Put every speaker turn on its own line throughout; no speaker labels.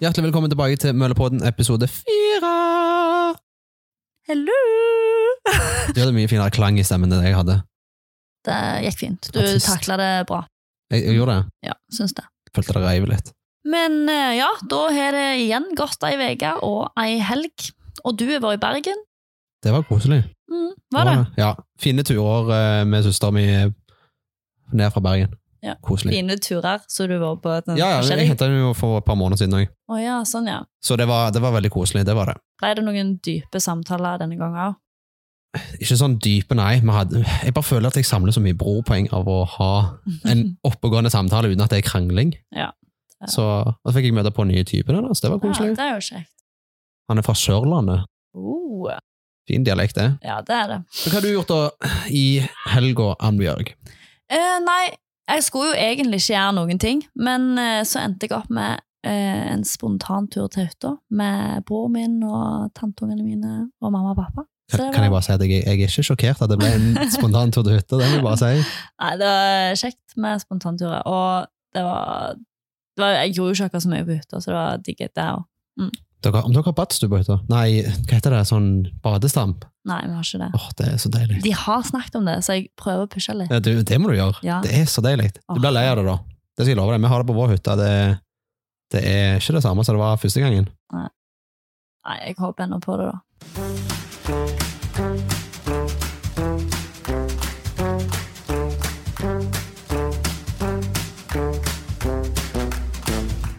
Hjertelig velkommen tilbake til Møllepodden episode fire!
Hello!
Du hadde mye finere klang i stemmen enn det jeg hadde.
Det gikk fint. Du
Artist.
takla det bra.
Jeg, jeg gjorde det.
Ja, syns det.
Følte det reiv litt.
Men eh, ja, da har det igjen gått ei uke og ei helg. Og du har vært i Bergen.
Det var koselig.
Mm, var det?
Ja. Fine turer eh, med søstera mi ned fra Bergen.
Ja. eh,
Koselig.
Fine turer som du var på? den
Ja, ja, jeg
forskjellige-
henta den jo for et par måneder siden òg.
Å ja, sånn ja.
Så det var, det var veldig koselig. Det var det.
Ble det noen dype samtaler denne gangen òg?
Ikke sånn dype, nei. Vi hadde, jeg bare føler at jeg samler så mye bropoeng av å ha en oppegående samtale uten at det er krangling.
Ja.
Så og så fikk jeg møte på nye typene, da, så det var
Ja,
koselig.
det er jo kjekt.
Han er fra Sørlandet.
Oh,
Fin dialekt, det.
ja, det er det.
Men Hva har du gjort da i helga, Ann-Bjørg?
Eh, nei, jeg skulle jo egentlig ikke gjøre noen ting, men eh, så endte jeg opp med eh, en spontantur til hytta med broren min og tanteungene mine og mamma og pappa. Så
Kan,
det
kan jeg
var-
bare si at jeg, jeg er ikke sjokkert at det ble en spontan tur til hytta, det må jeg bare si.
Nei, det var kjekt med spontanturer, og det var, det var Jeg gjorde jo ikke akkurat så mye på hytta, så det var digg der òg.
Dere, om dere har badstue på hytta? Nei, hva heter det? Sånn badestamp?
Nei, vi har ikke det.
Åh, det er så deilig.
De har snakket om det, så jeg prøver å pushe litt.
Ja, du, det må du gjøre.
Ja.
Det er så deilig. Du blir lei av det da. Det skal jeg love deg. Vi har det på vår hytte. Det, det er ikke det samme som det var første gangen.
Nei, jeg håper ennå på det, da.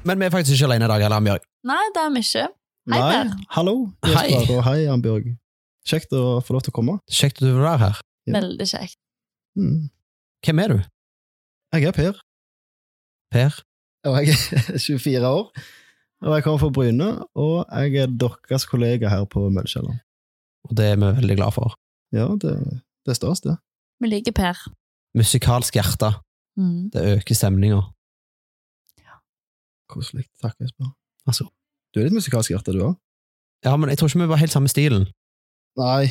Men vi er faktisk ikke alene i dag heller, Ann-Bjørg.
Nei, det er vi ikke. Hei,
Nei,
Per.
hallo,
Hei.
Jesper, og hei, Ann-Bjørg. Kjekt å få lov til å komme.
Kjekt at du vil være her.
Ja.
Veldig kjekt.
Mm.
Hvem er du?
Jeg er Per,
Per?
og jeg er 24 år. Og jeg kommer fra Bryne, og jeg er deres kollega her på Møllkjelleren.
Og det er vi veldig glad for.
Ja, det, det er stas, det.
Vi liker Per.
Musikalsk hjerte.
Mm.
Det øker stemninga.
Koselig. Takk, Jesper.
Vær så god.
Du er litt musikalsk i hjertet, du òg?
Ja, men jeg tror ikke vi var helt samme stilen.
Nei,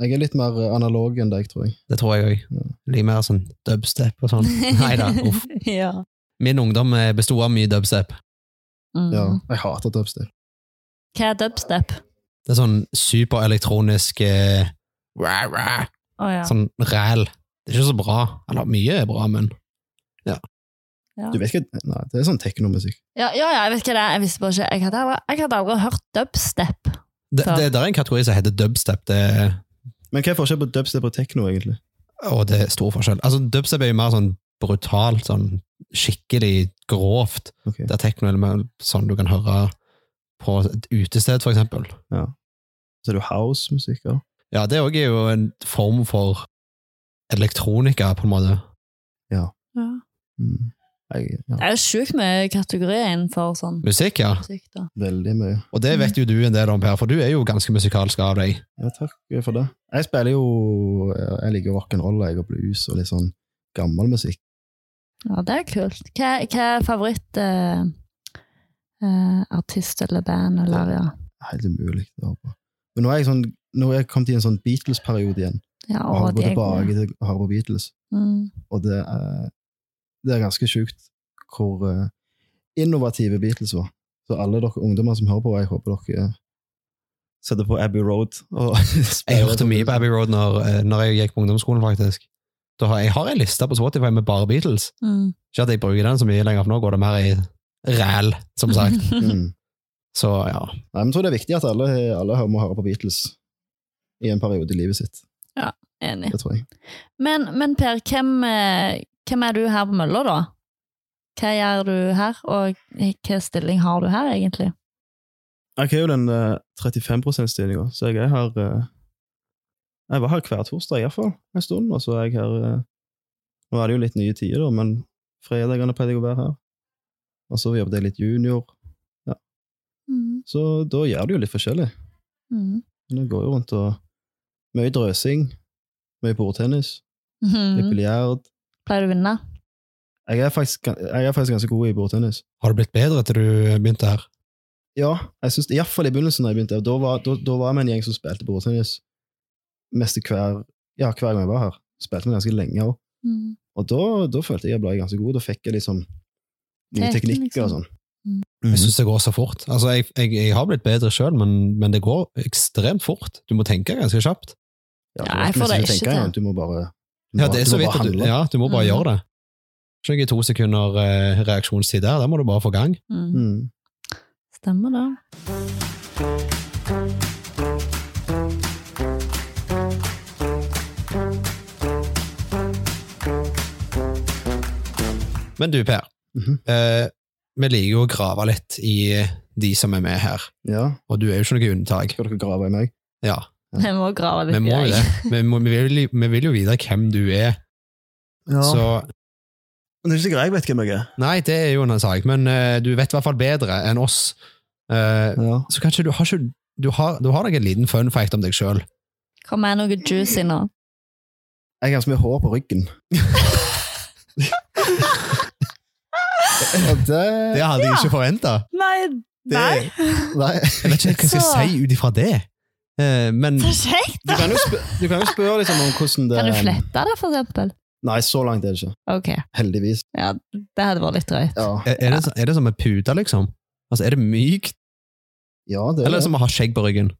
jeg er litt mer analog enn deg, tror jeg.
Det tror jeg òg. Litt mer sånn dubstep og sånn. Nei da, uff.
ja.
Min ungdom eh, besto av mye dubstep.
Mm.
Ja, jeg hater dubstep.
Hva er dubstep?
Det er sånn superelektronisk eh, rah, rah,
Å ja.
Sånn ræl. Det er ikke så bra. Eller mye er bra, men
Du vet ikke Nei, det er sånn teknomusikk.
Ja, ja, ja, jeg vet ikke det. Jeg visste bare ikke. Jeg hadde, aldri- jeg hadde aldri hørt dubstep.
det,
Ja.
det, det er en kategori som heter dubstep. Det,
Men hva er forskjellen på dubstep og tekno, egentlig?
og det er stor forskjell. Altså, dubstep er jo mer sånn brutalt, sånn skikkelig grovt.
Ok.
Det er tekno eller mer sånn du kan høre på et utested, for eksempel.
Så er det jo housemusikk òg.
Ja, det òg er jo en form for elektronika, på en måte.
Mm. Jeg- Ja,
Det er jo sjukt mye kategorier innenfor sånn
Musikk, ja.
musikk, da.
veldig mye.
Og det vet jo du en del om, Per, for du er jo ganske musikalsk av deg.
Ja, takk eh, for det. Jeg spiller jo eh, Jeg liker rock'n'roll jeg og blues og litt sånn gammel musikk.
Ja, det er kult. Hva, hva er favoritt eh, eh, artist eller band eller ja?
Helt umulig å høre på. Men nå er jeg sånn nå er jeg kommet i en sånn Beatles-periode igjen.
ja
Og har
og
gått
de er
tilbake
gode.
til å høre på Beatles.
Mm.
Og det er, det er ganske sjukt hvor eh, innovative Beatles var. Så alle dere ungdommer som hører på, jeg håper dere setter på Abbey Road. Og
Jeg hørte mye på Abbey Road når, eh, når jeg gikk på ungdomsskolen, faktisk. Da har, jeg har en liste på Spotify med bare Beatles.
Mm.
Ikke at jeg bruker den så mye lenger, for nå går det mer i ræl, som sagt.
Mm.
Så ja.
Nei, men jeg tror det er viktig at alle, alle hører- må høre på Beatles i en periode i livet sitt.
Enig.
Det tror jeg.
Men, men Per, hvem, eh, hvem er du her på mølla, da? Hva gjør du her, og hvilken stilling har du her, egentlig?
Jeg har jo den eh, 35 %-stillinga, så jeg er her eh, Jeg var her hver torsdag iallfall en stund, og så er jeg her eh, Nå er det jo litt nye tider, da, men fredagene pleide jeg å være her. Og så jobbet jeg litt junior,
Mm.
så da gjør det jo litt forskjellig.
Mm.
Men jeg går jo rundt og Mye drøsing, mye bordtennis, litt
Mhm.
biljard.
Pleier du å vinne?
Jeg, er faktisk gan- jeg er faktisk ganske god i bordtennis.
Har du blitt bedre etter du begynte her?
Ja, jeg synes, i hvert fall i begynnelsen da jeg begynte, da var, da, da var vi en gjeng som spilte bordtennis mest hver, ja, hver gang jeg var her. Spilte vi ganske lenge også. Og da, da følte jeg jeg ble ganske god, da fikk jeg liksom
Teken,
nye teknikker
liksom.
og sånn.
Mm.
Jeg syns det går så fort. Altså, jeg, jeg, jeg har blitt bedre sjøl, men, men det går ekstremt fort. Du må tenke ganske kjapt.
Ja,
Ja, jeg får det ikke til.
Du må bare
Ja,
du må-
det er
du
så
må
vidt
bare
at du,
handle. Mhm.
ja, du må bare
Mm.
gjøre det. Ikke noe to sekunder eh, reaksjonstid der, der må du bare få gang.
Mm.
Mm.
Stemmer det.
Men du, Per.
Mhm.
eh, vi liker jo å grave litt i de som er med her,
Ja,
og du er jo ikke noe unntak.
skal dere grave i meg?
Ja,
Jeg må grave
vi
litt
må
i
jo
deg.
det. Vi, må, vi, vil, vi vil jo vite hvem du er.
Ja.
Så
Men det er ikke sikkert jeg vet hvem jeg er.
Nei, det er jo en annen sak, men eh, du vet i hvert fall bedre enn oss. Eh,
Ja.
så kanskje du har ikke du har, du har nok en liten fun fact om deg sjøl.
Kom med noe juicy nå.
Jeg har ganske mye hår på ryggen. Og det
Det hadde jeg
Ja.
ikke forventa.
Nei,
Det- nei. Nei.
Jeg vet ikke hva jeg skal
Så-
si ut ifra det. Eh, men
Så kjekt!
Du kan jo, spør, du kan jo spørre liksom om hvordan det
Kan du flette det, for eksempel?
Nei, så langt er det ikke.
Ok,
Heldigvis.
ja, det hadde vært litt drøyt.
Ja,
er, er, det, så- er det som en pute, liksom? Altså, Er det mykt,
ja det, er,
eller
det.
som å ha skegg på ryggen?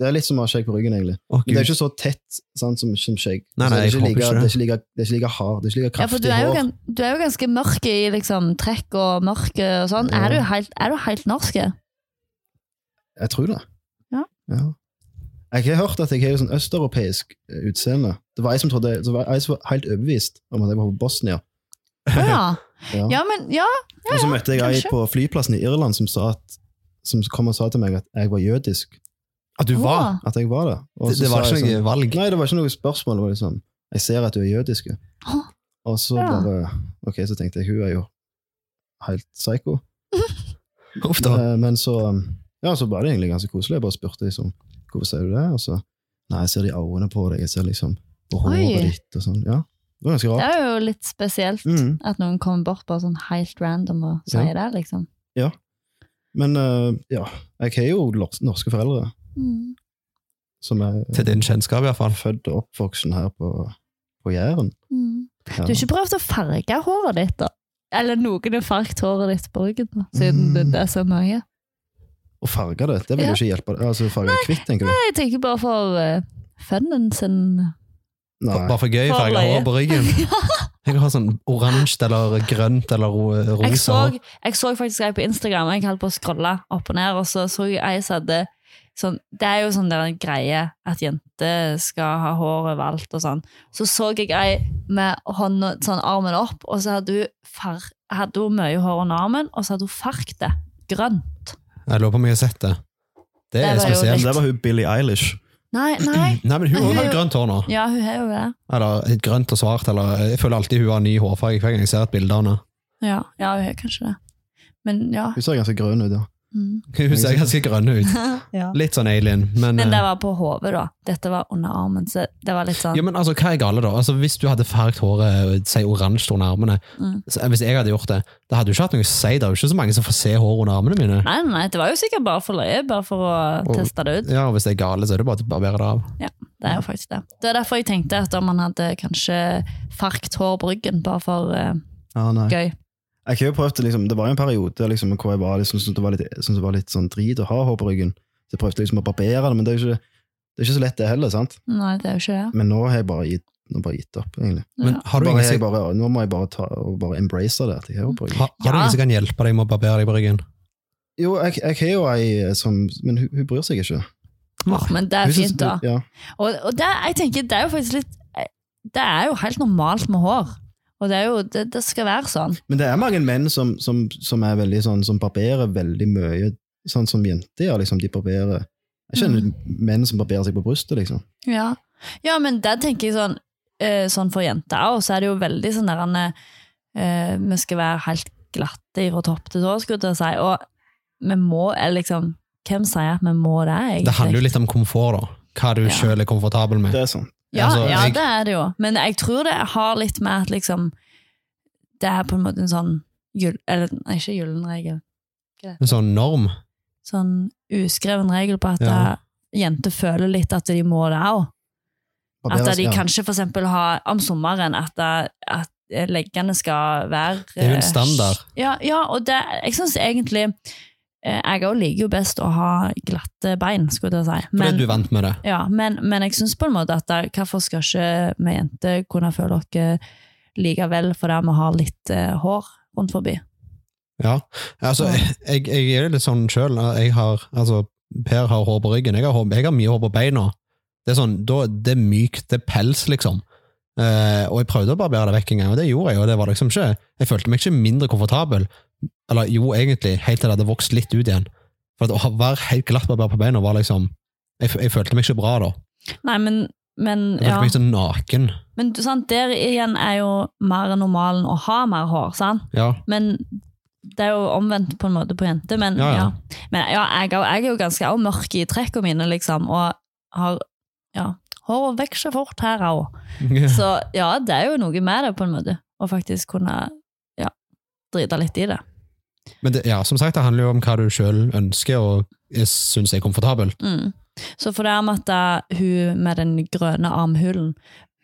det er litt som å ha skjegg på ryggen, egentlig.
Å,
Men det
Gud.
er ikke så tett sant, som, som skjegg.
Nei,
Så
nei,
det, er
jeg
ikke
håper
like,
ikke det.
det er ikke like Det er ikke like hard, det er ikke like
Ja, for du
kraftig
er, jo,
hår.
gan- du er jo ganske mørk i liksom, trekk og mørke og sånn.
Ja.
Er du helt, er du helt norsk?
Jeg tror det.
Ja.
Jeg har hørt at jeg har jo sånn østeuropeisk eh, utseende. Det var jeg som trodde, det var jeg som var helt overbevist om at jeg var fra Bosnia.
Å ja.
Ja.
ja, men ja.
og så møtte jeg ei
kanskje.
på flyplassen i Irland som, sa at, som kom og sa til meg at jeg var jødisk.
At du var?
Å.
At jeg var det. Og
Det,
så
det var
sa jeg sånn,
ikke noe valg.
Nei, det var ikke noe spørsmål. Det var liksom, jeg ser at du er jødisk. jo.
Hå?
Og så
Ja.
bare Ok, så tenkte jeg hun er jo helt psycho.
Uff da.
Men, men så Ja, så var det egentlig ganske koselig. Jeg bare spurte liksom Hvorfor sier du det? Og så Nei, jeg ser det i øynene på deg. Jeg ser liksom på håret
Oi.
ditt og sånn. Ja. Det var ganske
Det
rart.
er jo litt spesielt
Mm.
at noen kommer bort bare sånn helt random og sier det, liksom.
Men eh, ja, jeg har jo lors- norske foreldre
Mm.
som er
Til din kjennskap, i hvert fall.
født og oppvoksen her på, på Jæren.
Mm.
Ja.
Du har ikke prøvd å farge håret ditt, da? Eller noen har farget håret ditt på ryggen, da, siden
Mm.
det det er så mange.
Og farge det, det vil
Ja.
jo ikke hjelpe. deg. Altså, farge det kvitt, tenker du?
Jeg tenker bare for uh, funnen sin.
Nei.
Bare for gøy,
For
farge
løye.
hår på ryggen. Jeg har sånn oransje eller grønt eller ro-
Jeg
rosa
så,
hår.
jeg så faktisk ei på Instagram, og jeg holdt på å scrolle opp og ned, og så så jeg ei som hadde sånn Det er jo sånn der en greie at jenter skal ha hår overalt og sånn. Så så jeg ei med hånda, sånn armen opp, og så hadde hun, far, hadde hun mye hår under armen, og så hadde hun farget det grønt.
Jeg lurer på om jeg har sett det. Det
Det
er
var jo
Men
spesielt.
litt-
Der var hun Billie Eilish.
Nei, nei.
Nei, men hun
Men
også har
hun-
grønt hår nå.
Ja, hun har jo det.
Eller et grønt og svart. Eller, jeg føler alltid hun har ny hårfarge hver gang jeg ser et bilde av henne.
Ja, ja hun har kanskje det. Men ja.
Hun ser ganske grønn ut, ja.
Mm.
Hun ser ganske grønn ut. Litt sånn alien. Men,
Men det
eh,
var på hodet, da. Dette var under armen, så det var litt sånn
ja, men altså, hva er gale, da? Altså, hvis du hadde farget håret eh, si oransje under armene
Mm.
så- eh, Hvis jeg hadde gjort det, da hadde du ikke hatt noe å si. Det er jo ikke så mange som får se håret under armene mine.
Nei, nei, nei, det var jo sikkert bare for løye, bare for å teste det ut.
Ja, og Hvis det er gale, så er det bare å barbere det av.
Det er jo faktisk det. Det er derfor jeg tenkte at om man hadde kanskje fargt hår på ryggen, bare for eh,
Ah, nei.
gøy.
Jeg har jo prøvd, det, liksom, Det var jo en periode liksom, hvor jeg var, liksom, syntes det var litt, syntes det var litt sånn drit å ha hår på ryggen. Så jeg prøvde liksom å barbere det, men det er jo ikke, det er ikke så lett det heller. sant?
Nei, det er jo ikke det.
Men nå har jeg bare gitt, nå har jeg bare gitt opp, egentlig.
Men
Ja.
har du
Bare,
ingen
jeg
som-
bare, nå må jeg bare, ta, og bare embrace det at jeg har hår på ryggen.
har- har du
Ja.
ingen som kan hjelpe deg med å barbere deg på ryggen?
Jo, jeg, jeg har jo ei eh, som Men hun, hun bryr seg ikke.
Nei.
Men det
Hun
er
synes-
fint, da.
Ja.
Og, og det, jeg tenker, det er jo faktisk litt eh, Det er jo helt normalt med hår. Og det er jo Det, det skal være sånn.
Men det er mange menn som, som, som er veldig sånn, som barberer veldig mye, sånn som jenter gjør. Liksom, de barberer Jeg kjenner
Mm.
menn som barberer seg på brystet, liksom.
Ja, ja men der tenker jeg sånn, eh, sånn for jenter også, så er det jo veldig sånn der han, eh, vi skal være helt glatte fra topp til tå, skulle jeg til å si, og vi må, eller liksom, hvem sier at vi må det egentlig?
Det handler jo litt om komfort, da. Hva du
Ja.
selv er komfortabel med.
Det er sånn.
Ja,
altså,
ja
jeg-
det er det jo. Men jeg tror det har litt med at liksom, det er på en måte en sånn, gyll- eller nei, ikke gyllen regel,
En sånn norm.
sånn uskreven regel på at
Ja.
eh, jenter føler litt at de må det også. At
Barberer
de
seg, ja.
kanskje for eksempel har om sommeren at, at eh, leggene skal være.
Det er jo
eh,
en standard.
Ja, ja og det, jeg syns egentlig eh, Jeg òg liker jo best å ha glatte bein, skulle jeg til å si.
Fordi du er vant med det.
Ja, men, men jeg syns på en måte at der, hvorfor skal ikke vi jenter kunne føle oss eh, likevel fordi vi har litt eh, hår rundt forbi?
Ja, altså, jeg, jeg er litt sånn sjøl. Jeg har Altså, Per har hår på ryggen. Jeg har, hår, jeg har mye hår på beina. Det er sånn, da, det er mykt, det er pels, liksom. Eh, og jeg prøvde å barbere det vekk en gang, og det gjorde jeg, og det var liksom ikke Jeg følte meg ikke mindre komfortabel. Eller jo, egentlig, helt til det hadde vokst litt ut igjen. For at å ha- være helt glatt barbert på beina var liksom jeg, f- jeg følte meg ikke bra da.
Nei, men, men
Jeg følte
ja.
meg så naken.
Men du- sant, der igjen er jo mer normalen å ha mer hår, sant?
Ja.
Men det er jo omvendt på en måte på jenter. Men
Ja,
ja,
ja.
Men, ja jeg, er jo- jeg er jo ganske også mørk i trekkene mine, liksom, og har ja, Håret vokser fort her òg. Så ja, det er jo noe med det, på en måte. Å faktisk kunne ja, drite litt i det.
Men det, ja, som sagt, det handler jo om hva du sjøl ønsker og syns er komfortabelt.
Mm. Så for det med at eh, hun med den grønne armhulen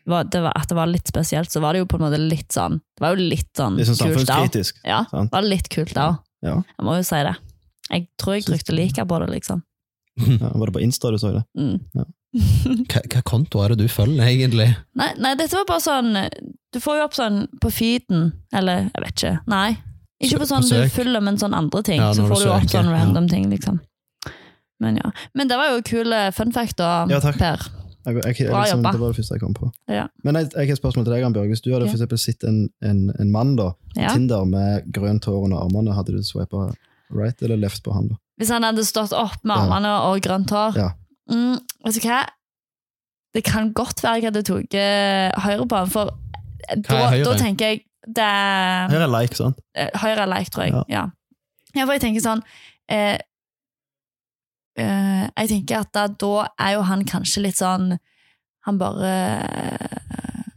var, det var, At det var litt spesielt, så var det jo på en måte litt sånn Det var jo litt sånn
Det er sånn
kult òg.
samfunnskritisk.
Ja, det
sant?
var litt kult òg.
Ja.
Jeg må jo si det. Jeg tror jeg trykte like på det, liksom.
Ja, var det på Insta du så det?
Mm.
Hva, hva konto er det du følger, egentlig?
Nei, nei, dette var bare sånn Du får jo opp sånn på feeden, eller jeg vet ikke. Nei. Ikke på
Sø-
sånn
på
du
søk.
følger, men sånn andre ting.
Ja,
så
når du
får du opp
søker,
sånn
ja.
random ting, liksom. Men ja. Men det var jo kule fun fact da,
Ja, takk.
Per.
Jeg, jeg, jeg,
Bra
liksom,
jobba.
det var det første jeg kom på.
Ja.
Men jeg, jeg har et spørsmål til deg, Bjørg. Hvis du hadde
Ja.
for eksempel sett en, en, en mann da,
Ja.
Tinder med grønt hår under armene, hadde du swipa right eller left på han da?
Hvis han hadde stått opp med
Ja.
armene og grønt hår
Ja.
mm, Vet du hva? Det kan godt være jeg hadde tatt eh, høyre på han, for eh, da,
høyre?
da tenker jeg det er
Her er like, sant?
eh, høyre leik, tror jeg. Ja. ja. for jeg tenker sånn eh, eh, Jeg tenker at da, da er jo han kanskje litt sånn Han bare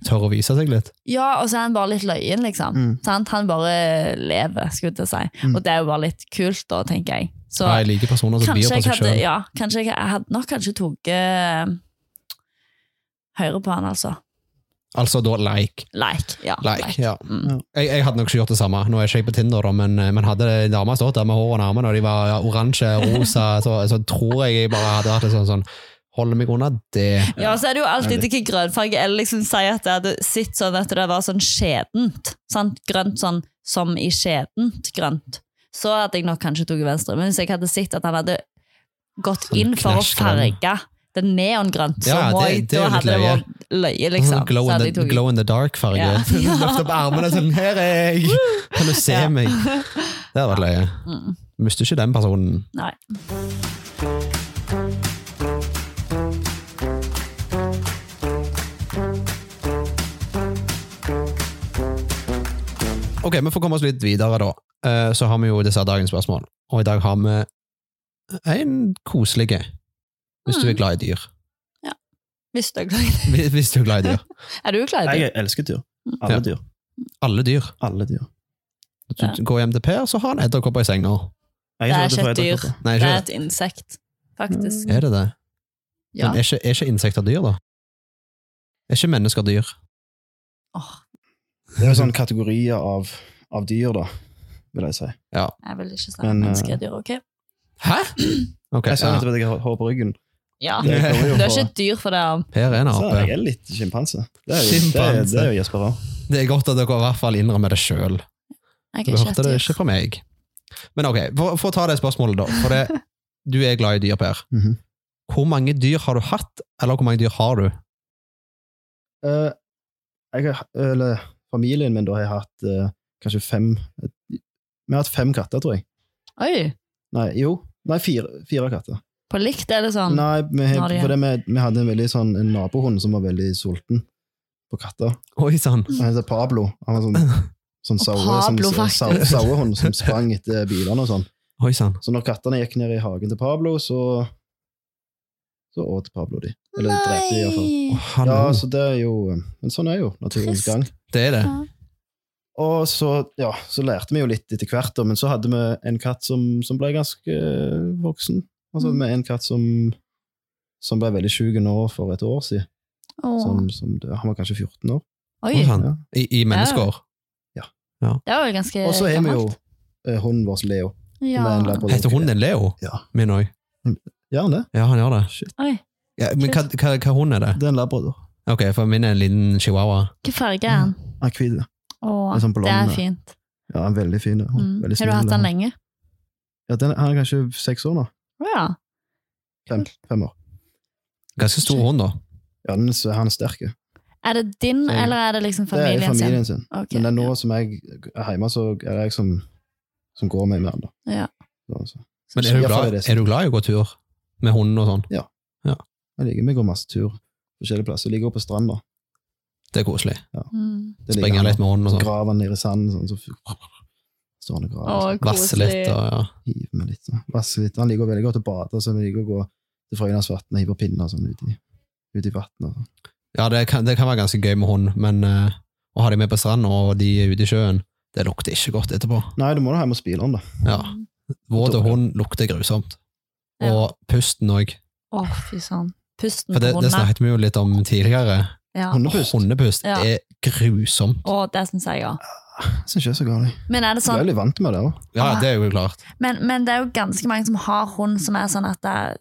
Tør å vise seg litt?
Ja, og så er han bare litt løyen, liksom.
Mm.
Sant? Han bare lever, skulle jeg til å si.
Mm.
Og det er jo bare litt kult, da, tenker jeg. Så
Ja, jeg liker personer som byr
kanskje
på
jeg
seg
hadde
sjøl.
ja, Kanskje jeg, jeg hadde nok kanskje tatt eh, høyre på han, altså.
Altså da like.
Like. Ja,
like,
like.
ja.
Mm.
Ja.
Jeg, jeg hadde nok ikke gjort det samme. Nå er ikke jeg på Tinder, da, men, eh, men hadde ei dame stått der med hår under armene, og de var ja, oransje, rosa, så, så tror jeg jeg bare hadde hatt det sånn sånn Holder meg unna det.
Ja, og så er det jo alltid ikke grønnfarge. Eller liksom si at det hadde sett sånn at det var sånn skjedent. Sant? Grønt sånn som i skjedent grønt. Så hadde jeg nok kanskje tatt venstre. Men hvis jeg hadde sett at han hadde gått
Sånn
inn for å
knæsjgrønn.
farge det neongrønt, så
Ja,
må
det-
jeg,
det er jo
da hadde det
litt
vært løye,
Sånn
liksom.
glow,
Så
in
hadde
the,
jeg tatt-
glow in the dark-farge.
Ja.
Løft opp armene sånn 'Her er jeg! Kan du se
Ja.
meg?' Det hadde vært løye.
Mm.
Mister ikke den personen.
Nei.
Ok, vi får komme oss litt videre da. Eh, Så har vi jo disse dagens spørsmål. Og i dag har vi en koselig, hvis du er
Mm.
glad i dyr.
Hvis du er glad i
Hvis- Hvis du er glad i dyr.
Er du glad i det?
Jeg elsker dyr.
Mm.
Alle
Ja.
dyr.
Alle dyr.
Alle dyr.
Du går hjem til Per, så har han edderkopper i senga.
Jeg
Det er
så redd
ikke
for
et dyr.
edderkopper.
Nei,
Det er
ikke det.
et insekt, faktisk.
Er det det?
Ja.
Men er ikke, er ikke insekter dyr, da? Er ikke mennesker dyr?
Åh,
Det er jo sånne kategorier av, av dyr, da, vil jeg si.
jeg vil ikke si
Men, eh,
menneskedyr, ok?
Hæ?! Ok,
Jeg sa
ja.
nettopp at jeg har hår på ryggen.
Ja.
Det kommer jo
Du Ah, er ikke
fra-
et dyr for det. om-
Per er en
Så jeg
ape.
er litt sjimpanse. Det er jo, det er,
Sjimpanse.
det er jo Jesper òg.
Det er godt at dere i hvert fall innrømmer det sjøl.
Jeg
Du
er
hørte
ikke
det
et
ikke
dyr.
fra meg. Men ok, for, for å ta det spørsmålet, da. For det, du er glad i dyr, Per.
Mhm.
Hvor mange dyr har du hatt, eller hvor mange dyr har du?
Eh, jeg har, eller familien min da har hatt eh, kanskje fem Vi har hatt fem katter, tror jeg.
Oi,
Nei, jo. Nei, fire, fire katter.
på likt er det sånn.
Nei, vi, har-
Nå har de-
for det, vi, vi hadde en veldig sånn en nabohund som var veldig sulten på katter.
Oi sann!
Han heter Pablo. Han var sånn, sånn
Og
saue som-
Pablo,
sånn sau-
faktisk.
sauehund som sprang etter bilene og sånn.
Oi sann!
Så når kattene gikk ned i hagen til Pablo, så så åt Pablo de. Eller drepte de, iallfall.
Å,
Nei!
han
Ja,
også.
så det er jo Men sånn er jo naturens
Trist.
gang.
Det er det.
Og så, ja, så lærte vi jo litt etter hvert, da, men så hadde vi en katt som, som ble ganske eh, voksen. Og
Mm.
så hadde vi en katt som, som ble veldig syk nå for et år siden.
Åh.
Som, som døde. Han var kanskje 14 år.
Oi,
Og sånn.
Ja.
I, i menneskeår.
det var jo ganske
Og så har vi jo
gammelt.
eh, hunden vår Leo.
ja.
med en labrador.
Heter hunden Leo?
Ja.
Min òg.
Gjør han det?
Ja, han gjør det.
Oi,
Ja, men hva, hva, hva hund er det?
Det er en labrador.
Ok, for min er en liten chihuahua.
hva farge er han?
Han er hvit.
Åh,
Mm. Det er sånn
det er
blond,
fint.
Ja, en veldig fin hund.
Mm.
Veldig
Har du
snill,
hatt han lenge?
Ja, den, han er kanskje seks år nå.
Å ja.
Fem, fem år.
Ganske stor hund, da.
Ja, den, er s- han er sterk.
Er det din,
Så-
eller er det liksom
Det er
familien sin?
familien sin.
Ok.
Men det er nå som jeg er hjemme, så er det jeg som, som går med med han. da.
Ja.
Så, altså.
Men er du,
Ja, for
glad,
det er sånn.
er du glad i å gå tur med hunden og sånn?
Jeg liker vi går masse tur forskjellige plasser. Jeg ligger også på stranda.
Det er koselig.
Mm.
Det liker
Springe
han,
litt med hunden og sånn.
Graver han nede i sanden, sånn, så f- står han og graver.
Å,
sånn.
Vasse litt og ja.
Hiver meg litt. sånn. Vasse litt. Han liker veldig godt å bade, så vi liker å gå til Frøylandsvatnet og hive pinner sånn, ut i, ut i vannet. Sånn.
Ja, det kan, det kan være ganske gøy med hund, men eh, å ha dem med på stranda og de er ute i sjøen, det lukter ikke godt etterpå.
Nei, du må da hjem og spyle han, da.
Ja. Våt hund lukter grusomt.
Mm. Ja.
Og pusten òg.
Å, fy søren. Pusten
For det,
på
det
hundene.
snakket vi jo litt om tidligere.
Ja.
Hundepust.
Hundepust
Ja.
er grusomt.
Å, det syns jeg, ja.
Syns ikke jeg er så galt.
Men er det
Du er
sånn
jo litt vant med det òg.
Ah.
Ja, det er jo klart.
Men, men det er jo ganske mange som har hund som er sånn at det er,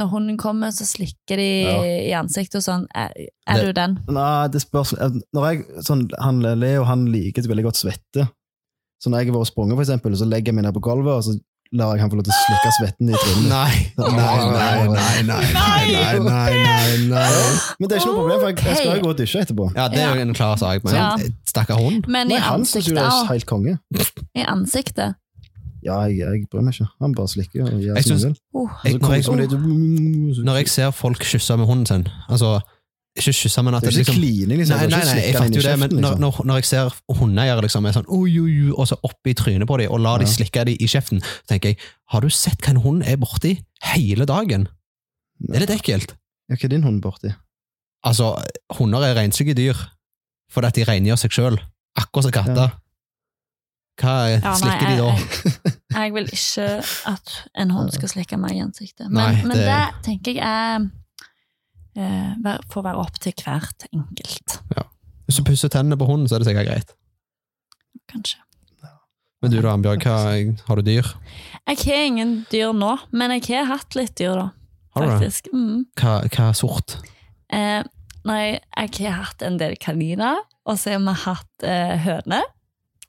når hunden kommer, så slikker de
Ja.
i ansiktet og sånn. Er, er du den?
Nei, det spørs Når jeg sånn, han, Leo han liker veldig godt svette. Så når jeg har vært og sprunget, for eksempel, så legger jeg meg ned på gulvet, og så lar jeg han få lov til å slikke svetten i trynet.
Nei, nei, nei, nei, nei, nei, nei, nei, nei.
Men det er ikke noe problem, for jeg, jeg skal jo gå og dusje etterpå.
Ja, det er jo en klar sak, men
Ja.
stakkar hund.
Men i
Nei, han syns
ansiktet,
jo det er
ja.
helt konge.
I ansiktet.
Ja, jeg, jeg bryr meg ikke. Han bare slikker og gjør
Jeg
som
synes-
han vil.
Oh.
Og
Jeg,
så
når,
kommer det sånn
jeg,
litt Det
når jeg ser folk kysse med hunden sin Altså, ikke kysse, men at det
er jo ikke
liksom
klining, liksom.
Nei, nei, nei, jeg fatter jo det, men når, når, når jeg ser hundeeiere liksom er sånn oi, oi, oi, og så opp i trynet på dem, og lar de
Ja.
slikke dem i kjeften, så tenker jeg, har du sett hva en hund er borti hele dagen? Er det ekkelt?
Ja, hva er din hund borti?
Altså, hunder er renslige dyr, fordi at de rengjør seg sjøl, akkurat som katter. Hva
Ja, nei,
slikker de da?
jeg- Jeg vil ikke at en hund skal slikke meg i ansiktet. Men,
Nei,
men
det-
det... tenker jeg er eh, vær- får være opp til hvert enkelt,
Hvis du pusser tennene på hunden, så er det sikkert greit.
kanskje.
Men du da, Bjørg, hva, har du dyr?
Jeg har ingen dyr nå, men jeg har hatt litt dyr, da.
Har du det?
Faktisk. Mm.
Hva, hva sort?
Eh, nei, jeg har hatt en del kaniner, og så har vi hatt eh, høne,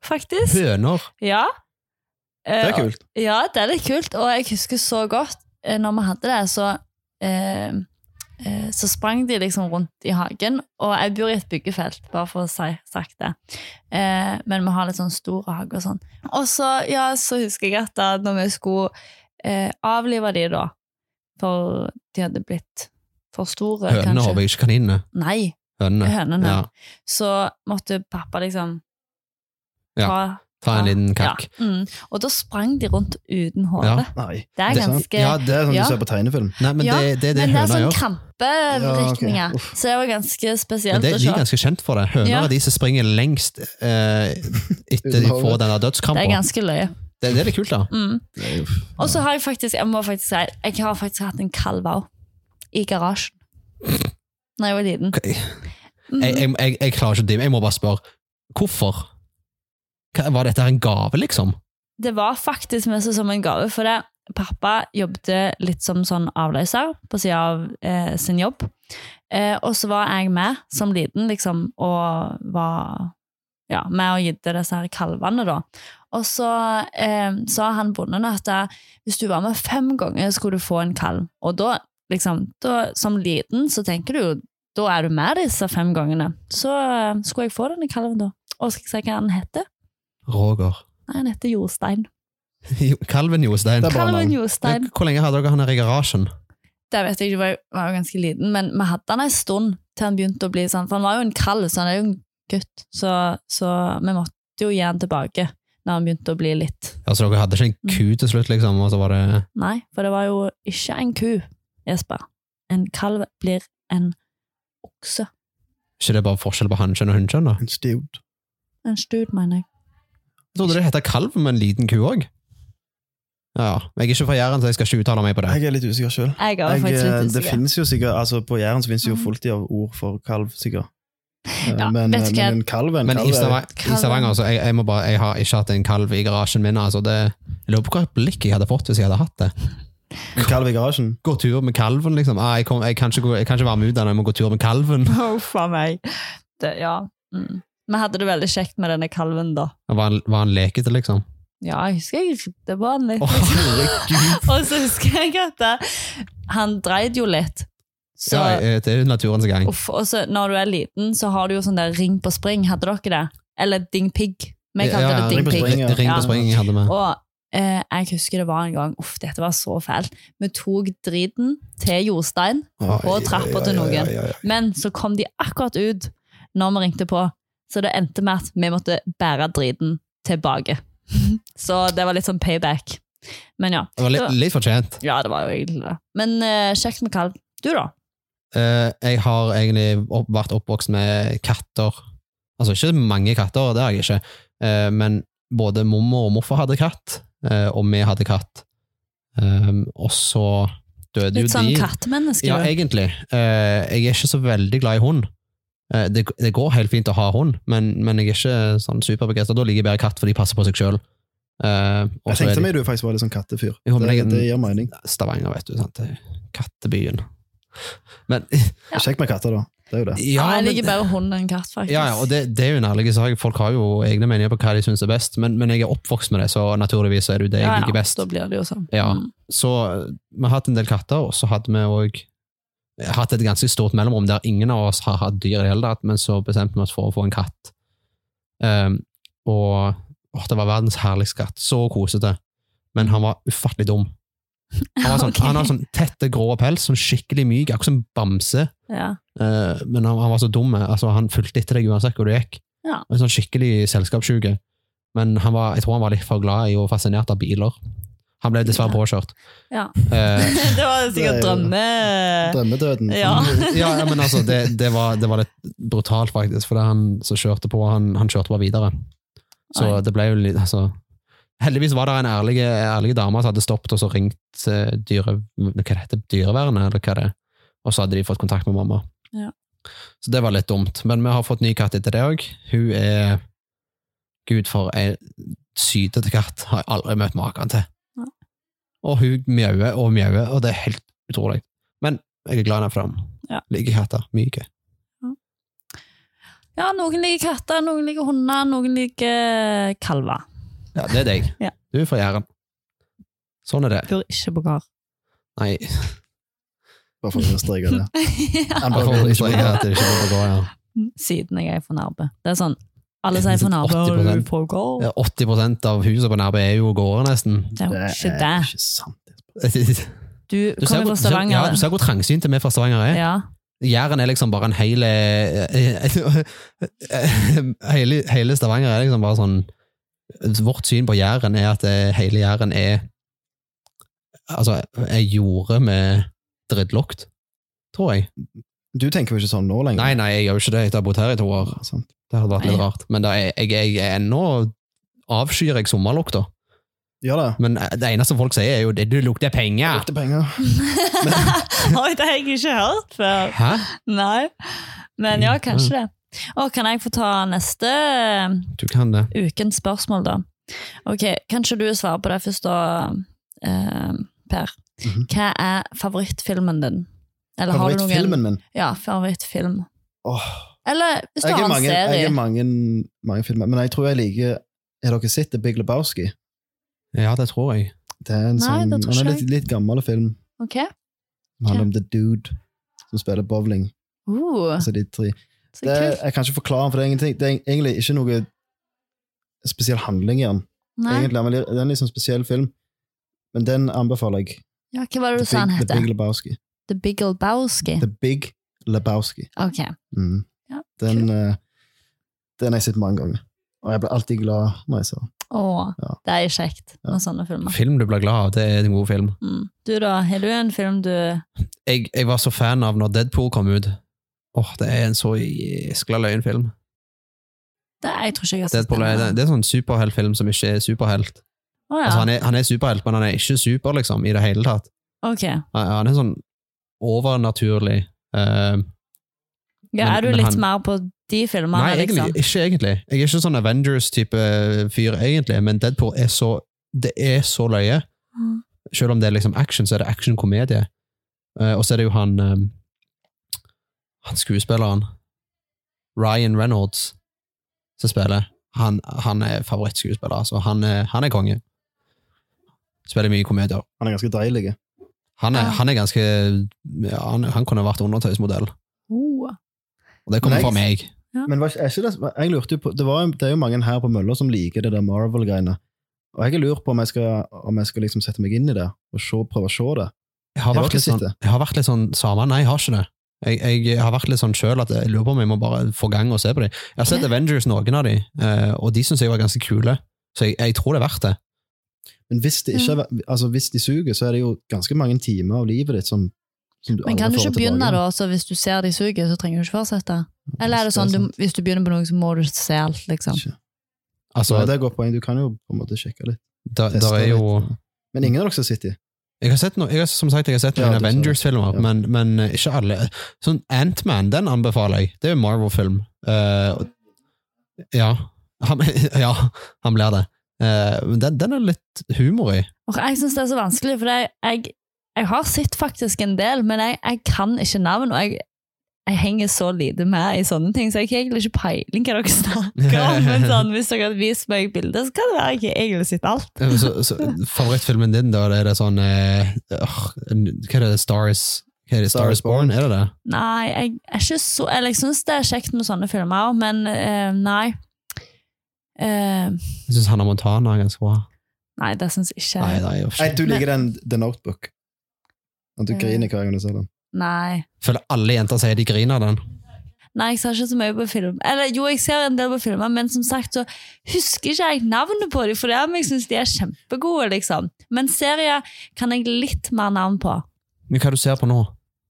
faktisk.
Høner?
Ja.
Det
Eh,
er kult.
Ja, det er litt kult, og jeg husker så godt eh, når vi hadde det, så, eh, eh, så sprang de liksom rundt i hagen, og jeg bor i et byggefelt, bare for å si sagt det. Eh, men vi har litt sånn stor hage og sånn. Og så, ja, så husker jeg at da når vi skulle eh, avlive de da, for de hadde blitt for store,
Hønene,
kanskje.
håper jeg, ikke kaninene.
Nei,
Hønene.
hønene.
Ja.
Så måtte pappa liksom
Ja.
ta...
Ta en liten kakk.
Ja, mm. Og da sprang de rundt uten
Ja.
håret.
Nei.
Det er
Det er sant.
ganske
Ja,
Det er sånn
Ja.
du ser på tegnefilm.
Nei, men
Ja,
det, det er det
Men det er
høner
sånn
gjør.
krampevridninger,
Ja, ok. Uff.
så det var ganske
Men det,
spesielt å
de er
se.
ganske kjent for det. Høner
altså, Ja.
er de som springer lengst eh, etter de får den der
Det er
dødskrampa.
ganske løye.
Det, det er litt kult, da.
Mm.
Det er jo-
Og så har jeg faktisk, jeg må faktisk si, jeg har faktisk hatt en kalv òg. I garasjen. Da jeg var liten.
Jeg,
Mm.
jeg, jeg, jeg klarer ikke å dimme. Jeg må bare spørre. Hvorfor? Hva, var dette her en gave, liksom?
Det var faktisk mest som en gave, for det. pappa jobbet litt som sånn avløser på sida av eh, sin jobb. Eh, og så var jeg med som liten, liksom, og var ja, med og gitte disse her kalvene, da. Og så eh, sa han bonden at eh, hvis du var med fem ganger, skulle du få en kalv. Og da, liksom, da, som liten, så tenker du jo da er du med disse fem gangene. Så eh, skulle jeg få denne kalven, da. Og skal jeg si hva han heter?
Roger.
Nei, han heter Jostein.
Jo- Kalven Jostein.
Det er bra
Kalven
navn.
Jostein.
Hvor lenge hadde dere han her i garasjen?
det vet jeg ikke, jeg var, var jo ganske liten, men vi hadde han en stund til han begynte å bli sånn, for han var jo en kall, så han er jo en gutt, så, så vi måtte jo gi han tilbake når han begynte å bli litt.
Altså, dere hadde ikke
Mm.
en ku til slutt, liksom? Og så var det
Nei, for det var jo ikke en ku, Jesper. En kalv blir en okse.
ikke det bare forskjell på hannkjønn og hunnkjønn? da?
En stewed.
En stud, mener jeg.
Jeg trodde det het kalv med en liten ku òg. Ja, ja. Jeg er ikke fra Jæren, så jeg skal ikke uttale meg på det.
Jeg er litt usikker sjøl.
Jeg var
Jeg,
faktisk
eh,
litt
det
usikker.
finnes jo sikkert, altså På Jæren så finnes det jo
Mm.
fulltid av ord for kalv, sikkert. Eh,
Ja,
men,
vet du hva?
men en kalv er en
Men
kalv. eh,
i Stavanger,
Kalven.
i Stavanger altså, jeg, jeg, må bare, jeg har ikke hatt en kalv i garasjen min. Altså, det, jeg lurer på hva blikk jeg hadde fått hvis jeg hadde hatt det.
En kalv i garasjen.
Gå tur med kalven, liksom. Ah, jeg, kom, jeg, kan ikke, gå- jeg kan ikke være med utdannet, jeg må gå tur med kalven.
Huff a meg. Det, ja. Mm. Vi hadde det veldig kjekt med denne kalven, da.
Og Var han, var han lekete, liksom?
Ja, jeg husker jeg ridde på han litt.
Å, herregud!
Og så husker jeg at eh, han dreide jo litt. Så,
Ja, eh, det er jo naturens gang.
uff, og så når du er liten, så har du jo sånn der ring på spring. Hadde dere det? Eller ding pig. Vi kalte
Ja, ja,
det
ring
ding
på
pig.
spring, ja.
Ring på spring jeg hadde med.
Og eh, jeg husker det var en gang Uff, dette var så fælt. Vi tok driten til jordstein, og trapper til noen. men så kom de akkurat ut når vi ringte på. Så det endte med at vi måtte bære driten tilbake. så det var litt sånn payback. Men ja.
Det var litt, litt fortjent.
Ja, det var jo egentlig det. Men eh, kjekt med kalv. Du, da?
Eh, jeg har egentlig opp, vært oppvokst med katter. Altså ikke mange katter, det har jeg ikke. Eh, men både mormor og morfar hadde katt, eh, og vi hadde katt. Um, og så døde jo de.
Litt sånn kattemenneske.
Ja,
du.
egentlig. Eh, jeg er ikke så veldig glad i hund. Eh, det, det går helt fint å ha hund, men, men jeg er ikke sånn superbegeistra. Da liker jeg bedre katt, for de passer på seg Eh, sjøl.
Jeg tenkte meg du faktisk var litt sånn kattefyr.
Jo, men
det,
jeg-
det gir mening.
Stavanger, vet du. Sant? Det er Kattebyen. Men
Ja.
Kjekt med katter, da. Det er jo det.
ja, jeg
men-
liker bedre hund enn katt, faktisk.
Ja, ja, og det, det er jo en ærlig sak. Folk har jo egne meninger på hva de syns er best, men, men jeg er oppvokst med det, så naturligvis er det jo det jeg
Ja, ja,
liker best.
Da blir det jo sånn.
Ja.
Mm.
Så eh, vi har hatt en del katter, og så hadde vi òg hatt et ganske stort mellomrom der ingen av oss har hatt dyr i det hele tatt, men så bestemte vi oss for å få en katt. Ehm, og åh, det var verdens herligste katt. Så kosete. Men han var ufattelig dum. Han, var sånn,
Ok.
han har sånn tette, grå pels, sånn skikkelig myk, akkurat som bamse.
Ja.
Eh, men han, han var så dum. Altså, han fulgte etter deg uansett hvor du gikk.
Ja.
En Sånn skikkelig selskapssjuke. Men han var, jeg tror han var litt for glad i og fascinert av biler. Han ble dessverre
Ja.
påkjørt.
Ja.
Eh,
det var sikkert
Det er jo-
drømme...
Drømmedøden.
Ja.
ja, ja, men altså, det, det, var, det var litt brutalt, faktisk, for det han som kjørte på, han, han kjørte bare videre. Så
Oi.
det ble jo litt altså, Heldigvis var det en ærlig, ærlig dame som hadde stoppet og så ringt eh, dyre, hva det heter, dyrevernet, eller hva det er, og så hadde de fått kontakt med mamma.
Ja.
Så det var litt dumt. Men vi har fått ny katt etter det òg. Hun er Gud, for ei sytete katt. Har jeg aldri møtt maken til.
Nei.
Og hun mjauer og mjauer, og det er helt utrolig. Men jeg er glad i henne for dem.
Ja.
Liker katter. Myke.
Ja, noen liker katter, noen liker hunder, noen liker kalver.
Ja, det er deg.
Ja.
Du er fra Jæren. Sånn er det.
Bor ikke på gård.
Nei,
Bare for å understreke det.
Ja.
Han
jeg får
bare-
understreke at det ikke går på gård, ja.
Siden jeg er fra Nærbø. Det er sånn, alle sier fra Nærbø og du
80%.
på gård.
Ja, 80 av huset på Nærbø er jo gårder, nesten.
Det er jo ikke det.
ikke sant.
Du ser,
Du
hvor, du
kommer fra
ser, ja, du
Stavanger.
ser hvor trangsynte vi fra Stavanger er.
Ja,
Jæren er liksom bare en hele Hele, hele Stavanger er liksom bare sånn Vårt syn på Jæren er at eh, hele Jæren er Altså, er jordet med drittlukt, tror jeg.
Du tenker jo ikke sånn nå lenger.
Nei, nei, jeg gjør jo ikke det etter å ha bodd her i to år.
Sant.
Det hadde vært litt
Nei.
rart. Men det er, jeg, jeg er ennå avskyr jeg sommerlukta.
Gjør det.
Men eh, det eneste folk sier, er jo det du lukter penger!
Lukter penger.
Oi, det har jeg ikke hørt før.
Hæ?
Nei. Men ja, kanskje det. Og kan jeg få ta neste eh,
Du kan det.
ukens spørsmål, da? Ok, Kanskje du svarer på det først, da, eh, Per.
Mhm.
Hva er favorittfilmen din? Eller har du noen-
Favorittfilmen min.
Ja, favorittfilm.
Åh,
Eller hvis du
jeg
har
er
en
mange, jeg
serie.
er mange, mange filmer, men jeg tror jeg liker Har dere sett The Big Lebowski?
Ja, det tror jeg.
Det er en
Nei,
sånn,
det tror
han er
ikke
litt, litt gammel film.
Ok.
Den handler om The Dude som spiller bowling.
Uh,
Altså de tre.
så
Det,
kult.
jeg kan ikke forklare den, for det er, ingenting- det er egentlig ikke noe spesiell handling i den.
Nei.
Egentlig, men det er en litt sånn spesiell film. Men den anbefaler jeg.
Ja, hva var
The
det du sa
Big,
han
The Big
heter?
Lebowski.
The Big Olbowski?
The Big Lebowski.
Ok.
Mm.
Ja,
Den, eh, den har jeg sett mange ganger. Og jeg blir alltid glad når jeg ser den.
Å,
Ja.
det er kjekt med
Ja.
sånne filmer.
Film du blir glad av, det er en god film.
Mm. Du da, har du en film du
Jeg, jeg var så fan av når Deadpool kom ut. Åh, det er en så jæskla løyen film.
Det, jeg tror ikke jeg har sett
Deadpool er,
den.
det er en sånn superheltfilm som ikke er superhelt.
Å ja,
Altså, han, er, han er superhelt, men han er ikke super, liksom, i det hele tatt.
ok.
Han han er sånn overnaturlig. eh,
Ja,
Men-
er du
men
litt
han-
mer på de filmene,
Nei, egentlig,
liksom.
ikke egentlig. Jeg er ikke sånn Avengers-type eh, fyr, egentlig, men Deadpool er så Det er så løye.
Mm.
Selv om det er liksom action, så er det action-komedie. Eh, og så er det jo han eh, Han skuespilleren Ryan Reynolds som spiller. Han, han er favorittskuespiller, altså. Han er, han er konge. Spiller mye komedier.
Han er ganske deilig.
Han er,
Ja.
han er ganske ja, han, han kunne vært undertøysmodell.
Oh.
Og det kommer
Nice.
fra meg.
Men var, ikke- er ikke det, jeg lurte jo på, det, var, jo- det er jo mange her på Mølla som liker det der Marvel-greiene. Og jeg har lurt på om jeg skal, om jeg skal liksom sette meg inn i det og se, prøve å se det.
Jeg har,
Har
vært
dere
litt sånn,
sett det?
jeg har vært litt sånn samme. Nei, jeg har ikke det. Jeg, jeg, har vært litt sånn sjøl at jeg lurer på om jeg må bare få gang og se på dem. Jeg har sett
Ja.
Avengers, noen av dem, og de syns jeg var ganske kule. Så jeg, jeg tror det er verdt det.
Men hvis, det ikke, er-
Mm.
altså hvis de suger, så er det jo ganske mange timer av livet ditt som, som du
Men kan du
aldri får
ikke
tilbake.
begynne da, så hvis du ser de suger, så trenger du ikke fortsette? Eller er det
Det er
sånn, du,
sant.
hvis du begynner på noe, så må du se alt, liksom?
Ikke.
Altså,
Nei, det er et godt poeng. Du kan jo på en måte sjekke litt.
da, der
teste
er jo
litt. Men ingen av dere som sitter i.
jeg har sett no, jeg har, Som sagt, jeg har sett
Ja,
noen
du sa det.
Avengers-filmer,
Ja.
men, men eh, ikke alle. Sånn Ant-Man, den anbefaler jeg. Det er jo en Marvel-film. Eh, og- ja. Han, ja, han blir det. Eh, men den, den er litt humor i.
Og jeg synes det er så vanskelig, for jeg, jeg, jeg har sett faktisk en del, men jeg, jeg kan ikke navn, og jeg, jeg henger så lite med i sånne ting, så jeg har egentlig ikke peiling hva dere snakker om, men sånn, hvis dere hadde vist meg bilder, så kan det være jeg ikke egentlig har sett alt.
Ja, men Eh, så, så, favorittfilmen din, da? Det er det sånn eh, åh, Hva er det? Stars hva er det,
Star
Star
is
is Born? Er det det?
Nei, jeg er ikke så, eller jeg synes det er kjekt med sånne filmer, også, men eh, nei. Eh,
Jeg syns Hannah Montana er ganske bra.
nei, det synes jeg ikke.
Nei, nei, jeg
Nei,
vet ikke.
du liker den The Notebook. At du
Ja.
griner hver gang du ser den.
nei.
Føler alle jenter sier de griner av den.
Nei, jeg ser ikke så mye på film. Eller jo, jeg ser en del på filmer, men som sagt så husker ikke jeg navnet på dem, for det er om jeg syns de er kjempegode, liksom. Men serier kan jeg litt mer navn på.
Men hva du ser på nå?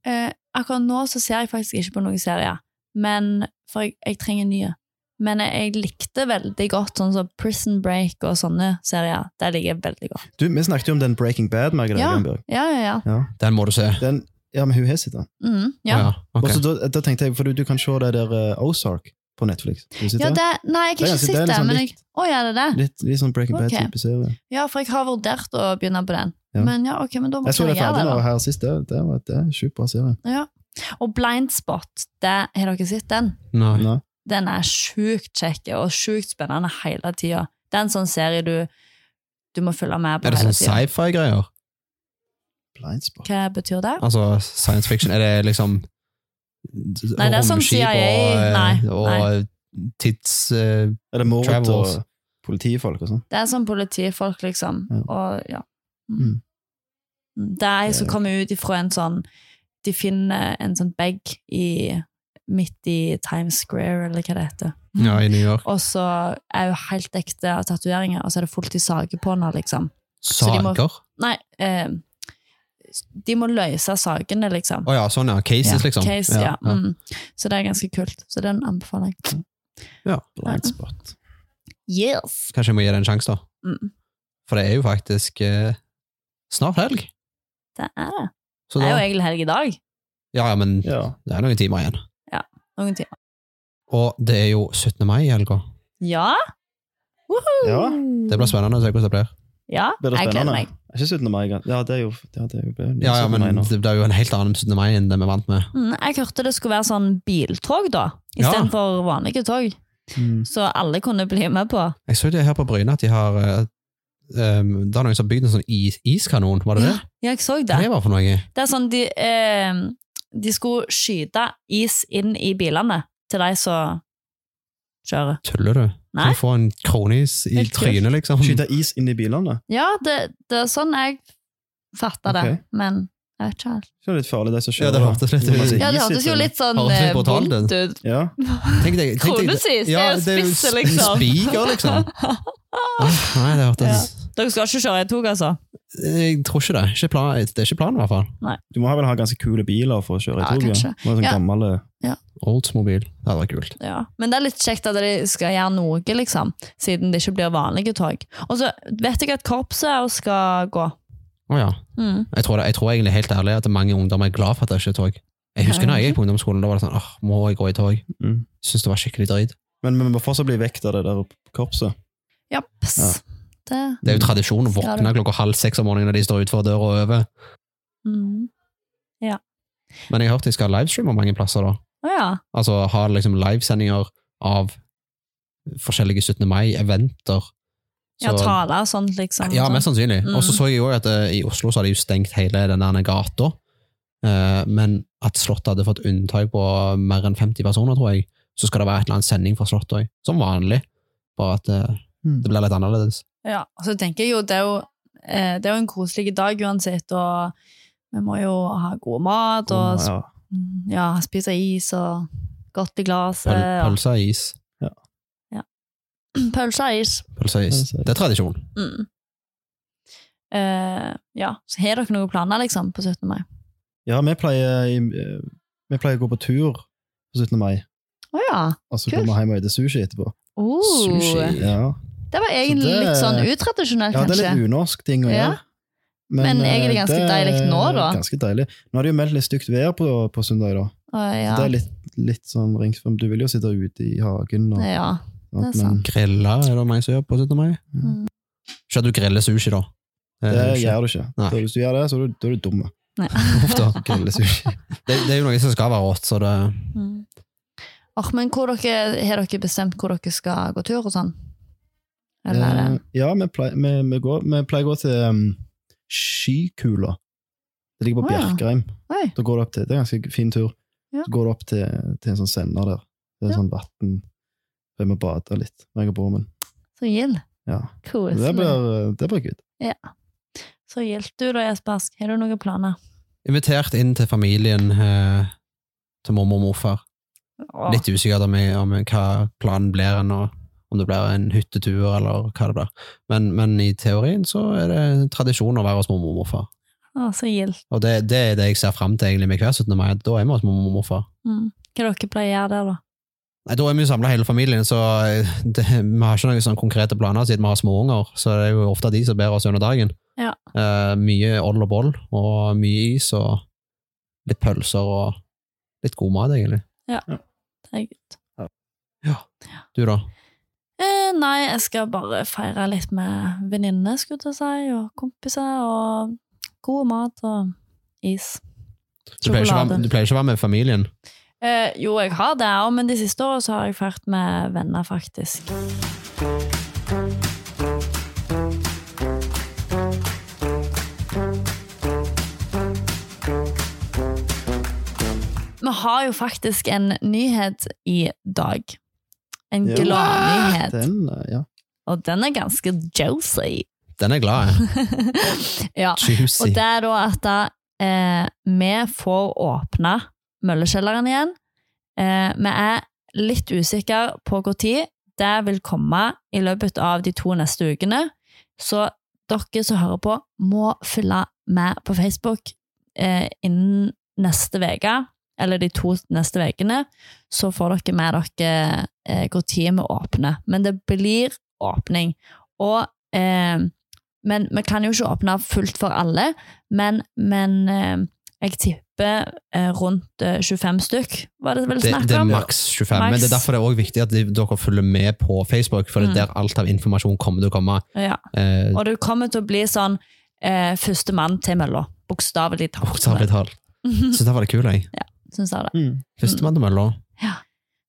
Eh, akkurat nå så ser jeg faktisk ikke på noen serier, men, for jeg, jeg trenger nye. Men jeg likte veldig godt sånn som Prison Break og sånne serier. Det liker jeg veldig godt.
Du, vi snakket jo om den Breaking Bad, Margaret
Ja.
Grenberg.
Ja, ja, ja.
Den må du se.
Den, ja, men hun har sett den.
Mm, ja.
Å,
Og
ok.
så da, da tenkte jeg, for du, du kan se det der eh, Ozark på Netflix. Har du sett
ja
det?
det, nei, jeg har ikke
Det er ganske- det er
sett det,
liksom
men jeg Å, ja, det er det?
Litt, litt sånn Breaking
Ok.
Bad-type serie.
Ja, for jeg har vurdert å begynne på den.
Ja.
Men ja, ok, men da må
Jeg så det
gjøre
ferdig
da.
nå her sist. Det, det var det er en sjukt bra serie.
Ja. Og Blindspot, det, har dere sett den?
Nei.
Nei.
Den er sjukt kjekk og sjukt spennende hele tida. Det er en sånn serie du, du må følge med på
Er det
hele
sånn
tida.
sci-fi-greier?
Blindspot.
Hva betyr det?
Altså science fiction? Er det liksom
Nei, det er sånn
romskip
CIA. Nei,
og, og tids... eh,
Er det mord og
Travels.
politifolk og sånn?
Det er sånn politifolk, liksom.
Ja.
Og, ja. Mm,
Mm.
Det er ei som kommer ut ifra en sånn De finner en sånn bag i, midt i Times Square, eller hva det heter.
ja, i New York.
Og så er hun helt ekte av tatoveringer, og så er det fullt i saker på henne, liksom. så de må-
Saker?
Nei, eh, de må løse sakene, liksom.
Å ja, sånn ja. Mm. Cases, liksom.
Case, ja. Mm. Så det er ganske kult. Så den anbefaler jeg.
ja.
Blindspot.
Yes!
Kanskje jeg må gi det en sjanse, da.
Mm.
For det er jo faktisk eh, snart helg.
Det er det.
Så
Det er
da,
jo egentlig helg i dag.
ja, ja, men
Ja.
det er noen timer igjen.
Noen timer.
Og det er jo 17. mai i helga.
Ja! Woohoo!
Ja,
Det
Mm.
blir spennende å se hvordan det blir.
Ja,
Blir det
jeg gleder meg.
spennende? Er ikke 17. mai engang? Ja, det er jo ja, det er jo, det er jo
Ja, ja,
17.
men
mai nå.
det blir jo en helt annen 17. mai enn det vi er vant med.
Mm, jeg hørte det skulle være sånn biltog, da.
Ja.
Istedenfor for vanlige tog.
Mm.
Så alle kunne bli med på.
Jeg så det her på Bryne at de har eh, um, Det er noen som har bygd en sånn is iskanon, var det det?
Ja, jeg så
Hva
det.
det var for noe?
Det er sånn de, eh, de skulle skyte is inn i bilene til de som kjører.
Tuller du? Kan
Nei.
du få en kronis i
Helt kult.
trynet, liksom?
Skyte is inn i bilene?
Ja, det, det er sånn jeg fatter det,
Ok.
men jeg vet ikke helt.
Det er litt farlig, de som
Ja,
kjører.
det hørtes litt-
Når man sier
Ja, det
is i
hørtes jo
bilene.
litt sånn
Hørtes litt
eh,
brutalt
vondt ut.
Ja.
Tenk deg- tenk deg-
Kronesis, det er jo
jo
spisse,
sp-
liksom.
Spiker, liksom. Nei, nei, det hørtes
Dere skal ikke kjøre i tog, altså?
Jeg tror ikke det. Ikke plan, det er ikke planen, i hvert fall.
Du må ha vel ha ganske kule biler for å kjøre i
Ja,
tog. Ja,
kanskje.
Med sånn
Ja.
gammel, eh,
Oldsmobil. Det hadde vært kult.
Ja. Men det er litt kjekt at de skal gjøre noe, liksom, siden det ikke blir vanlige tog. Og så vet jeg at korpset også skal gå.
Å ja.
Mm.
Jeg tror, det, jeg tror egentlig helt ærlig at mange ungdommer er glad for at det ikke er tog. Jeg husker
Ja.
når jeg gikk på ungdomsskolen, da var det sånn åh, må jeg gå i tog?
Mm.
Syns det var skikkelig drit.
Men vi må fortsatt bli vekt av det der korpset. Mm.
Japs.
Ja.
Det
Det er jo tradisjon å
Skal
våkne klokka halv seks om morgenen når de står utenfor døra og øver.
mm.
Men jeg har hørt de skal ha livestreamer mange plasser, da.
Å ja.
Altså ha liksom livesendinger av forskjellige 17. mai-eventer.
Ja,
Så-
taler og sånt, liksom.
Ja, mest sannsynlig.
Mm.
Og så så jeg jo også at eh, i Oslo så hadde de jo stengt hele den der gata, Eh, men at Slottet hadde fått unntak på mer enn 50 personer, tror jeg. Så skal det være et eller annet sending fra Slottet òg, som vanlig, bare at eh,
Mm.
det blir litt annerledes.
Ja, og så tenker jeg jo det er jo, eh, det er jo en koselig dag uansett, og vi må jo ha god mat, og sp-
ja.
Mm, ja, spise is, og godt i glasset.
Pøl,
og-
pølse og is.
Pølse og is.
Pølse og is.
Pølse og is.
Det er tradisjon.
Mm. Eh, ja, så har dere noen planer liksom på 17. mai?
ja, vi pleier, i- eh, vi pleier å gå på tur på 17. mai,
Å ja!
og så
Kult.
går vi hjem og spiser sushi etterpå.
Oh,
Sushi.
Ja.
Det var egentlig
Så det-
litt sånn utradisjonelt,
ja, det er
kanskje.
litt unorsk ting å
Ja.
gjøre.
Men
eh,
egentlig ganske
det er
deilig nå, da.
Ganske deilig. Nå har det jo meldt litt stygt vær på, på søndag, da.
Å, ja.
Så det er litt, litt sånn ringsfrem. Du vil jo sitte ute i hagen. Og,
ja.
men
er sant.
Grilla er det mange som gjør på 17. mai.
Mm.
Ikke at du griller sushi, da. er
Det,
jo ikke-
gjør du ikke.
Eh, Nei.
Da, hvis du gjør det, så er du, da er du dum.
Nei.
Ofte.
Grille sushi.
Det, det er jo noe som skal være rått, så det
Mm. Åh, men hvor dere, har dere bestemt hvor dere skal gå tur og sånn? Eller er
Eh,
det
Ja, vi pleier, vi, vi, går, vi pleier å gå til um, Skykula. Det ligger på
Å, ja.
Bjerkreim.
Oi,
Da går du opp til, Det er en ganske fin tur.
Ja.
Så går du opp til, til en sånn sender der. Det er
Ja.
sånn vann der vi bader litt, meg og broren min.
så gild.
Ja. Eh, Det
Koselig.
blir, det blir good.
Så gildt du da, Jesper. Har du noen planer?
Invitert inn til familien eh, til mormor og morfar.
Åh,
Litt usikkert om, jeg- om hva planen blir, ennå, om det blir en hyttetur eller hva det blir. Men, men i teorien så er det tradisjon å være hos mormor og morfar.
åh, så gildt.
Og det, det er det jeg ser fram til egentlig med hver 17. mai. at Da er vi hos mormor og morfar.
Mm. Hva dere pleier å gjøre der, da?
Nei, Da er vi jo samla hele familien, så eh, det, vi har ikke noen sånn konkrete planer siden vi har småunger. Så det er jo ofte de som ber oss under dagen.
Ja.
Eh, mye oll og boll, og mye is, og litt pølser og litt god mat, egentlig.
Det er gutt.
Du, da?
Eh, nei, jeg skal bare feire litt med venninner, skulle jeg til å si, og kompiser, og god mat og is.
Du pleier, ikke å være,
Sjokolade.
du pleier ikke å være med familien?
Eh, jo, jeg har det òg, men de siste åra så har jeg feirt med venner, faktisk. Vi har jo faktisk en nyhet i dag. En
Ja.
gladnyhet.
Den, eh, ja.
Og den er ganske juicy.
Den er glad, jeg.
ja. Og
Juicy.
det er da at eh, vi får åpne møllekjelleren igjen. Eh, vi er litt usikre på hvor tid. Det vil komme i løpet av de to neste ukene. Så dere som hører på, må følge med på Facebook eh, innen neste uke, eller de to neste ukene, så får dere med dere eh, hvor tid vi åpner. Men det blir åpning. Og eh, men vi kan jo ikke åpne fullt for alle, men, men eh, jeg tipper eh, rundt eh, 25 stykk, var det vel
Det,
snakk
det er
om?
maks 25,
Maks.
men det er derfor det er også viktig at de- dere følger med på Facebook, for det er
Mm.
der alt av informasjon kommer til å komme.
Ja.
Eh,
Og du kommer til å bli sånn eh, førstemann til mølla, bokstavelig talt.
Bokstavelig talt. Så der var det kul, jeg.
Syns jeg det.
Mm.
Førstemann til mølla.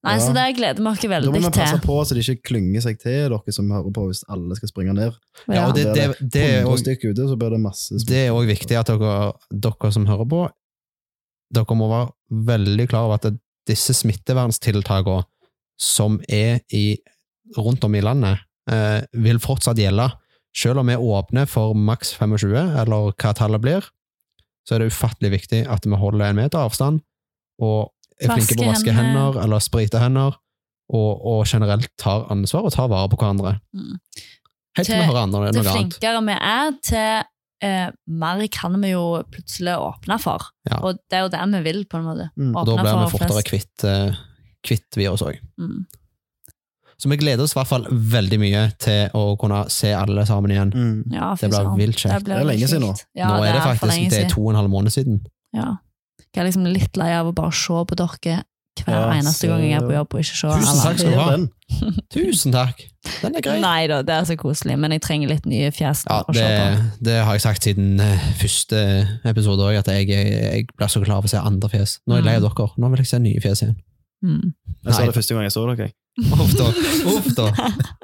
Nei,
Ja.
Så det gleder vi oss
Da må
veldig
vi passe
til.
på så de ikke klynger seg til dere som hører på, hvis alle skal springe ned.
Ja, og det, det, det er
100
også
stykk ute, så blir det masse
Det er òg viktig at dere, dere som hører på, dere må være veldig klar over at det- disse smittevernstiltakene som er i, rundt om i landet, eh, vil fortsatt gjelde. Selv om vi åpner for maks 25, eller hva tallet blir, så er det ufattelig viktig at vi holder en meter avstand, og er flinke på å
Vaske
vaske
hender.
hender, eller sprite hender, og, og generelt tar ansvar og tar vare på hverandre.
Mm.
Helt til vi
Til-
hører andre
Til
noe annet.
flinkere vi er, til eh, mer kan vi jo plutselig åpne for.
Ja.
Og det er jo det vi vil, på en måte.
Mm.
Og da
Åpne
blir vi
for
fortere
flest.
kvitt, eh, kvitt virus òg.
Mm.
Så vi gleder oss i hvert fall veldig mye til å kunne se alle sammen igjen.
Mm.
Ja, fy
Det blir
søren.
vilt kjekt.
blir
Det er lenge
kjekt.
siden nå.
Ja,
Nå er det
for
faktisk eh,
lenge
det
siden.
er to og en halv måned siden.
Ja. Jeg er liksom litt lei av å bare se på dere hver
Ja,
eneste
så-
gang jeg er på jobb og ikke ser
Tusen takk
alle.
skal du ha.
Den.
Tusen takk! Den er grei.
Nei da, det er så koselig, men jeg trenger litt nye fjes.
Ja,
å se
det,
på.
det har jeg sagt siden eh, første episode òg, at jeg, jeg, jeg blir så glad av å se andre fjes. Nå er jeg lei av dere. Nå vil jeg se nye fjes igjen.
Mm.
Jeg sa
Nei.
det første gang jeg så dere. jeg.
Uff da. Uff da.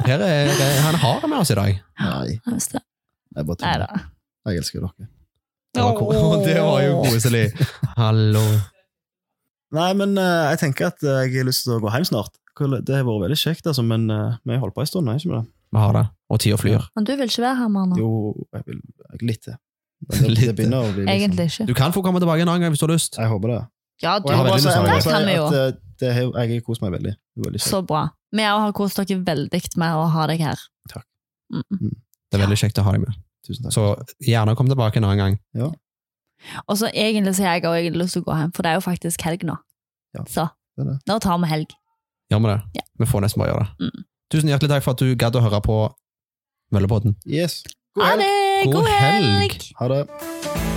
Her er, her- han har det med oss i dag.
Nei,
Ja, visst det.
jeg bare
Nei
tuller.
da.
Jeg elsker dere.
Det var, ko- det var jo koselig. Hallo.
Nei, men eh, jeg tenker at eh, jeg har lyst til å gå hjem snart. Hvor- Det har vært veldig kjekt, altså, men eh, vi har holdt på en stund. har vi Ikke med det.
Vi har det. Og tida flyr.
Men du vil ikke være her, Marna?
Jo, jeg vil jeg, litt til. Men Det,
Litt
det begynner å bli liksom-
Egentlig ikke.
Du kan få komme tilbake en annen gang hvis du har lyst.
Jeg håper det.
Ja, du,
Og jeg
har
må
veldig
si-
lyst til å
jeg må
være
si
med. Det kan vi
at, eh, det har- Jeg har kost meg veldig. Det er veldig kjekt.
så bra. Vi òg har kost dere veldig med å ha deg her.
Takk.
Mm.
Det er veldig kjekt å ha deg med.
Tusen takk.
Så gjerne kom tilbake en annen gang.
Og så egentlig så har jeg òg lyst til å gå hjem, for det er jo faktisk helg nå.
Ja,
Så
det er det.
nå tar vi helg.
Gjør vi det?
Ja.
Vi får nesten bare gjøre det.
Mm.
Tusen hjertelig takk for at du gadd å høre på Møllepodden.
Yes. God
Ha
helg.
det!
God
God
helg.
helg!
Ha det.